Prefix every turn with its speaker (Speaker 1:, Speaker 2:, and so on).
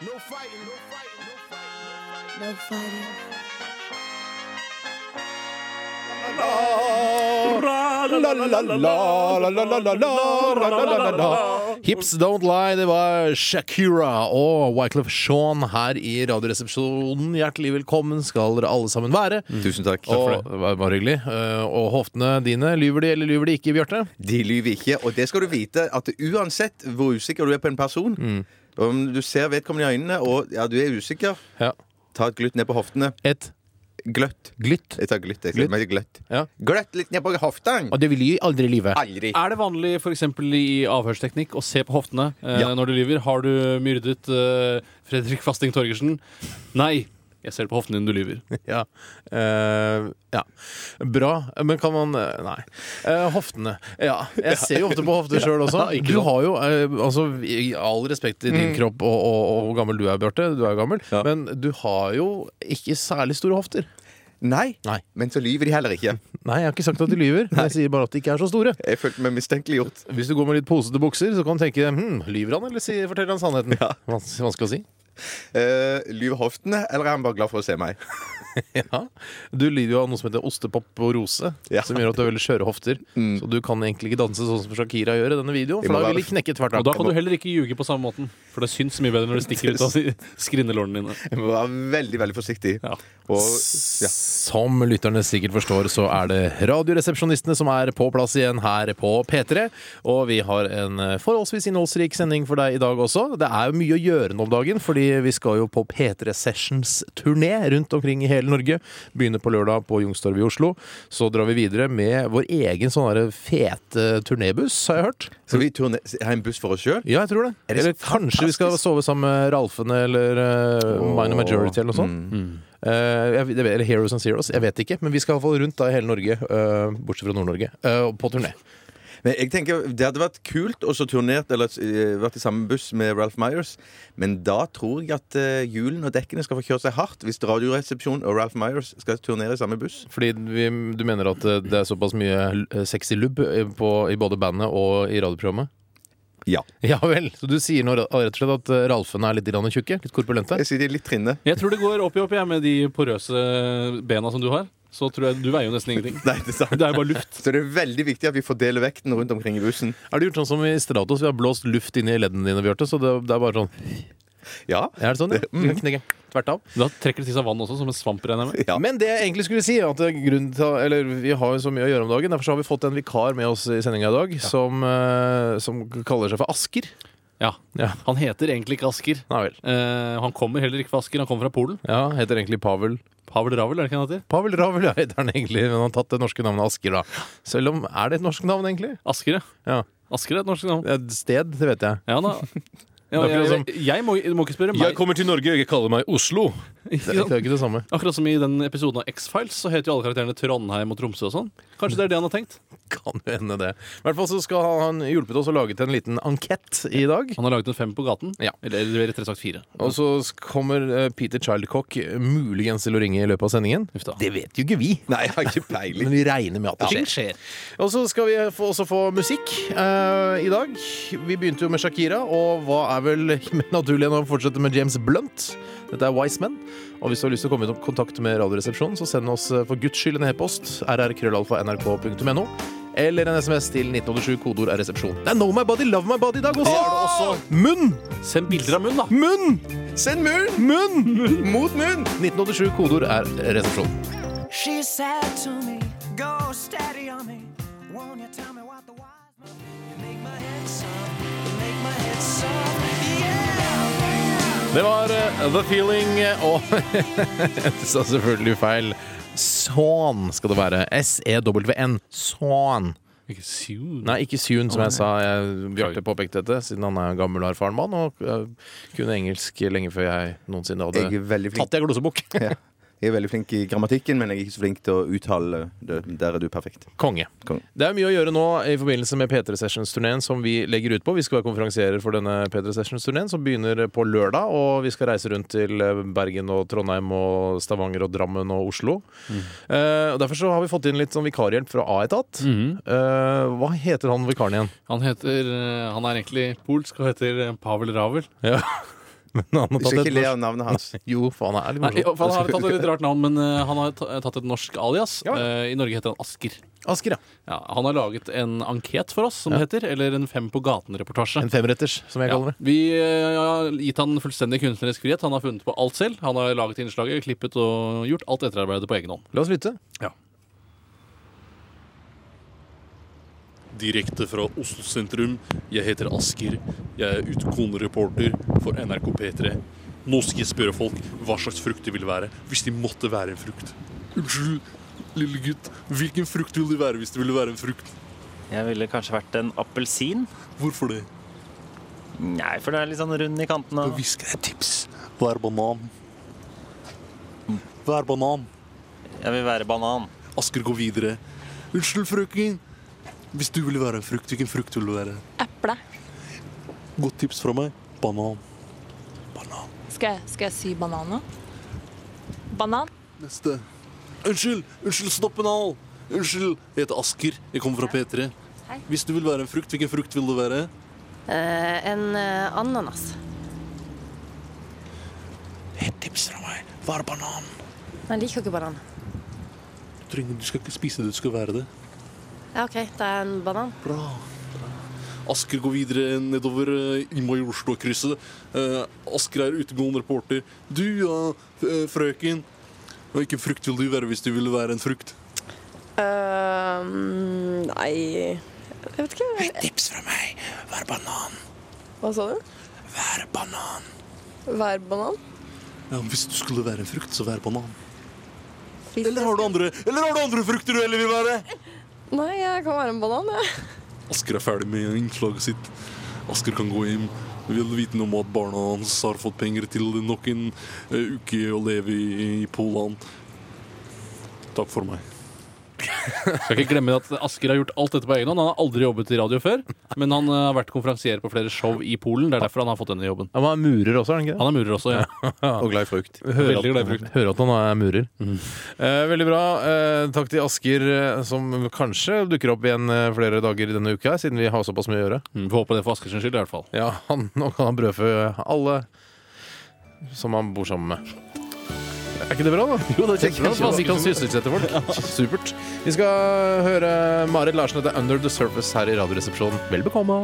Speaker 1: No fighting, no fighting, no fighting.
Speaker 2: No fighting.
Speaker 3: Hips Don't Lie, det var Shakira og Wyclef Sean her i Radioresepsjonen. Hjertelig velkommen skal dere alle sammen være.
Speaker 4: Tusen takk.
Speaker 3: Og, det var bare hyggelig. Eh, Og hoftene dine, lyver de eller lyver de ikke, Bjarte?
Speaker 4: De lyver ikke, og det skal du vite at uansett hvor usikker du er på en person Om du ser vedkommende i øynene og ja, du er usikker,
Speaker 3: Ja.
Speaker 4: ta et glutt ned på hoftene.
Speaker 3: Et
Speaker 4: Gløtt.
Speaker 3: glytt.
Speaker 4: Jeg tar gløtt. Jeg
Speaker 3: Gløtt?
Speaker 4: gløtt. gløtt.
Speaker 3: Ja.
Speaker 4: gløtt litt ned på hoftene! Ah.
Speaker 3: Og det vil de aldri lyve.
Speaker 4: Aldri.
Speaker 5: Er det vanlig for eksempel i avhørsteknikk å se på hoftene eh, når du lyver? Har du myrdet eh, Fredrik Fasting Torgersen? Nei. Jeg ser på hoftene dine, du lyver.
Speaker 3: Ja. Eh, ja. Bra. Men kan man eh, Nei. Eh, hoftene. Ja. Jeg ser jo ofte på hofter sjøl også.
Speaker 5: ikke
Speaker 3: Du
Speaker 5: sant.
Speaker 3: har jo, eh, altså i all respekt til din kropp og, og, og hvor gammel du er, Bjarte, du er jo gammel,
Speaker 4: Ja.
Speaker 3: men du har jo ikke særlig store hofter.
Speaker 4: Nei.
Speaker 3: Nei.
Speaker 4: Men så lyver de heller ikke.
Speaker 3: Nei, jeg har ikke sagt at de lyver. men Jeg sier bare at de ikke er så store.
Speaker 4: Jeg følte meg mistenkeliggjort.
Speaker 3: Hvis du går med litt posete bukser, så kan du tenke hm, lyver han, eller sier, forteller han sannheten?
Speaker 4: Ja.
Speaker 3: Vans vanskelig å si.
Speaker 4: Uh, lyver hoftene, eller er han bare glad for å se meg?
Speaker 3: Ja. Du lider jo av noe som heter ostepop og rose,
Speaker 4: Ja.
Speaker 3: som gjør at du har veldig skjøre hofter. Så du kan egentlig ikke danse sånn som Shakira gjør i denne videoen,
Speaker 4: Det
Speaker 3: for
Speaker 4: må
Speaker 3: da vil
Speaker 4: være-
Speaker 3: de knekke tvert.
Speaker 5: Og da kan du heller ikke ljuge på samme måten, for det syns mye bedre når det stikker ut av si- skrinnelårene dine.
Speaker 4: Jeg må være veldig, veldig forsiktig.
Speaker 5: Ja.
Speaker 4: Og, ja.
Speaker 3: Som lytterne sikkert forstår, så er det Radioresepsjonistene som er på plass igjen her på P3. Og vi har en eh, forholdsvis innholdsrik sending for deg i dag også. Det er jo mye å gjøre nå om dagen, fordi vi skal jo på P3 Sessions-turné rundt omkring i hele Norge. Begynner på lørdag på Youngstorget i Oslo. Så drar vi videre med vår egen sånn derre fete turnébuss, har jeg hørt.
Speaker 4: Skal vi turne, ha en buss for oss sjøl?
Speaker 3: Ja, jeg tror det.
Speaker 4: Er det så
Speaker 3: Eller kanskje vi skal
Speaker 4: fantastisk?
Speaker 3: sove sammen med Ralfene eller uh, Minor Majority eller noe sånt.
Speaker 4: Mm.
Speaker 3: Eh, jeg, vet- eller Heroes and Zeros. Jeg vet ikke. Men vi skal i hvert fall rundt da i hele Norge, eh, bortsett fra Nord-Norge, eh, på turné.
Speaker 4: Men jeg tenker Det hadde vært kult å så turnert Eller eh, vært i samme buss med Ralph Myers Men da tror jeg at eh, hjulene og dekkene skal få kjørt seg hardt Hvis radioresepsjonen og Ralph Myers skal turnere i samme buss
Speaker 3: Fordi vi, du mener at eh, det er såpass mye eh, sexy lubb eh, på, i både bandet og i radioprogrammet?
Speaker 4: Ja
Speaker 3: Ja vel. Så du sier nå ra- rett og slett at eh, Ralfene er litt grann tjukke? Litt korpulente?
Speaker 4: Jeg sier de er litt trinne
Speaker 5: Jeg tror det går opp i opp jeg, med de porøse bena som du har. Så tror jeg Du veier jo nesten ingenting.
Speaker 4: Nei, det er sant
Speaker 5: Det er jo bare luft.
Speaker 4: Så det er veldig viktig at vi fordeler vekten rundt omkring i bussen
Speaker 3: Er det gjort sånn som i Stratos? Vi har blåst luft inn i leddene dine, Bjarte. Så det, det er bare sånn.
Speaker 4: Ja
Speaker 3: Er det sånn? Ja? Mm. Knekke. Tvert av.
Speaker 5: Da trekker det til seg vann også, som en svamp, regner jeg med.
Speaker 4: Ja.
Speaker 3: Men det jeg egentlig skulle si er at det er grunnen til, eller Vi har jo så mye å gjøre om dagen. Derfor så har vi fått en vikar med oss i sendinga i dag som, eh, som kaller seg for Asker.
Speaker 5: Ja.
Speaker 3: Ja.
Speaker 5: Han heter egentlig ikke Asker.
Speaker 3: Nei vel.
Speaker 5: Eh, han kommer heller ikke fra Asker, han kommer fra Polen.
Speaker 3: Ja, Heter egentlig Pavel
Speaker 5: Pavel Ravel, er det ikke han heter?
Speaker 3: Pavel Ravel ja, heter han egentlig, men han har tatt det norske navnet Asker, da. Selv om Er det et norsk navn, egentlig?
Speaker 5: Asker, ja.
Speaker 3: Ja.
Speaker 5: Asker er et norsk navn.
Speaker 3: Et sted, det vet jeg.
Speaker 5: Ja, da. Ja,
Speaker 3: Det er
Speaker 5: jeg,
Speaker 3: akkurat som-
Speaker 5: jeg, jeg må, du må ikke spørre meg.
Speaker 3: kommer til Norge, jeg kaller meg Oslo. Det, det er jo ikke det samme.
Speaker 5: Akkurat som i den episoden av X-Files, så heter jo alle karakterene Trondheim og Tromsø og sånn. Kanskje det er det han har tenkt?
Speaker 3: Kan jo hende det. I hvert fall så skal han hjulpet oss å lage til en liten ankett i dag.
Speaker 5: Han har laget en fem på gaten.
Speaker 3: Ja.
Speaker 5: Eller, eller rettere sagt fire.
Speaker 3: Og så kommer eh, Peter Childcock muligens til å ringe i løpet av sendingen.
Speaker 5: Uff da.
Speaker 3: Det vet jo ikke vi.
Speaker 4: Nei, jeg har ikke peiling
Speaker 3: Men vi regner med at det skjer.
Speaker 5: skjer.
Speaker 3: Og så skal vi få, også få musikk eh, i dag. Vi begynte jo med Shakira, og hva er vel naturlig enn å fortsette med James Blunt? Dette er Wise Men. Og hvis du har lyst til å komme i kontakt med Radioresepsjonen, så send oss eh, for guds skyld en e-post. rrkrøllalfa.nrk.no. Eller en SMS til 1987, kodeord er resepsjon. Det er Know My Body, Love My Body i dag også! Munn!
Speaker 5: Send bilder av munnen, da.
Speaker 3: Munn!
Speaker 4: Send munn!
Speaker 3: Munn!
Speaker 4: Mot munn!
Speaker 3: 1987, kodeord er resepsjon.
Speaker 1: She said to me, go steady on me. Won't you tell me what the wise man? You make my head soft, you make my head soft, yeah.
Speaker 3: Det var eh, The Feeling eh, og Jeg sa selvfølgelig feil. Sånn skal det være. S-E-W-N. Sånn.
Speaker 5: Ikke sur.
Speaker 3: Nei, ikke Sune, som jeg sa. Jeg- Bjarte påpekte dette, siden han er en gammel og erfaren mann og eh, kunne engelsk lenge før jeg noensinne
Speaker 4: Jeg er
Speaker 3: hadde
Speaker 4: veldig flink
Speaker 3: tatt i en glosebok.
Speaker 4: ja. Jeg er veldig flink i grammatikken, men jeg er ikke så flink til å uttale det Der er du perfekt
Speaker 3: Konge.
Speaker 4: Konge.
Speaker 3: Det er mye å gjøre nå i forbindelse med P3 Sessions-turneen som vi legger ut på. Vi skal være konferansierer for denne P3 Sessions-turneen som begynner på lørdag. Og vi skal reise rundt til eh, Bergen og Trondheim og Stavanger og Drammen og Oslo. Eh, og Derfor så har vi fått inn litt sånn vikarhjelp fra A-etat. Eh, hva heter han vikaren igjen?
Speaker 5: Han heter eh, Han er egentlig polsk og heter eh, Pavel Ravel.
Speaker 3: Ja. Men han har
Speaker 4: Vi skal
Speaker 3: tatt
Speaker 4: ikke
Speaker 3: et
Speaker 4: le
Speaker 3: norsk
Speaker 4: av navnet hans.
Speaker 3: Jo, faen, det er litt
Speaker 5: Nei, i-
Speaker 3: morsomt.
Speaker 5: for han har tatt et litt rart navn, men eh, han har ta- tatt et norsk alias.
Speaker 3: Ja.
Speaker 5: Eh, I Norge heter han Asker.
Speaker 3: Asker, ja.
Speaker 5: Ja, han har laget en anket for oss, som det heter, eller en Fem på gaten-reportasje.
Speaker 3: En femretters, som jeg
Speaker 5: Ja.
Speaker 3: kaller det.
Speaker 5: Vi eh, har gitt han fullstendig kunstnerisk frihet. Han har funnet på alt selv. Han har laget innslaget, klippet og gjort alt etterarbeidet på egen hånd.
Speaker 3: La oss lytte.
Speaker 2: Direkte fra Oslo sentrum. Jeg heter Asker. Jeg er utgående reporter for NRK P3. Nå skal jeg spørre folk hva slags frukt det vil være hvis de måtte være en frukt. Unnskyld, lille gutt. Hvilken frukt vil det være hvis det ville være en frukt?
Speaker 6: Jeg ville kanskje vært en appelsin.
Speaker 2: Hvorfor det?
Speaker 6: Nei, for det er litt sånn rund i kanten. Og...
Speaker 2: Vi skal ha et tips. Hva er banan? Hva er banan?
Speaker 6: Jeg vil være banan.
Speaker 2: Asker går videre. Unnskyld, frøken. Hvis du ville være en frukt, hvilken frukt vil du være?
Speaker 7: Eple.
Speaker 2: Godt tips fra meg. Banan. Banan.
Speaker 7: Skal jeg, skal jeg si banan nå? Banan?
Speaker 2: Neste. Unnskyld! Unnskyld, stopp en hal! Unnskyld, jeg heter Asker. Jeg kommer fra P3.
Speaker 8: Hei.
Speaker 2: Hvis du vil være en frukt, hvilken frukt vil du være?
Speaker 8: Eh, en eh, ananas.
Speaker 2: Et tips fra meg. Vær banan.
Speaker 8: Jeg liker ikke banan.
Speaker 2: Du, trenger, du skal ikke spise det, du skal være det.
Speaker 8: Ja, OK, det er en banan.
Speaker 2: Bra. Asker går videre nedover eh, i Majorstua-krysset. Eh, Asker er utegående reporter. Du, ja, f- eh, frøken. Hvilken frukt vil du være hvis du ville være en frukt?
Speaker 8: Ehm, nei Jeg vet ikke.
Speaker 2: Et tips fra meg. Vær banan.
Speaker 8: Hva sa du?
Speaker 2: Vær banan.
Speaker 8: Hver banan?
Speaker 2: Ja, hvis du skulle være en frukt, så vær banan. Eller har du andre, eller har du andre frukter du heller vil være?
Speaker 8: Nei, jeg kan være en banan, jeg.
Speaker 2: Asker er ferdig med innslaget sitt. Asker kan gå hjem. Vil vite noe om at barna hans har fått penger til nok en eh, uke å leve i, i Polen. Takk for meg.
Speaker 5: Skal ikke glemme at Asker har gjort alt dette på egen hånd. Han har aldri jobbet i radio før, men han eh, har vært konferansier på flere show i Polen. Det er derfor han har fått denne jobben.
Speaker 3: Ja, men han er murer også, er han ikke det?
Speaker 5: Han er murer også, ja.
Speaker 4: Og glad i frukt.
Speaker 3: Hører
Speaker 5: Veldig glad i
Speaker 3: at, hører at han er murer. Eh, veldig bra. Eh, takk til Asker, eh, som kanskje dukker opp igjen eh, flere dager denne uka, her, siden vi har såpass mye å gjøre.
Speaker 5: Mm, Får håpe det for Askers skyld, i hvert fall.
Speaker 3: Ja, han, Nå kan han brødfø alle som han bor sammen med. Er ikke det bra, da? Jo, det er kjempebra. Så han kan sysselsette folk. Supert. Vi skal høre Marit Larsen, dette er Under The Surface her i Radioresepsjonen. Vel bekomme.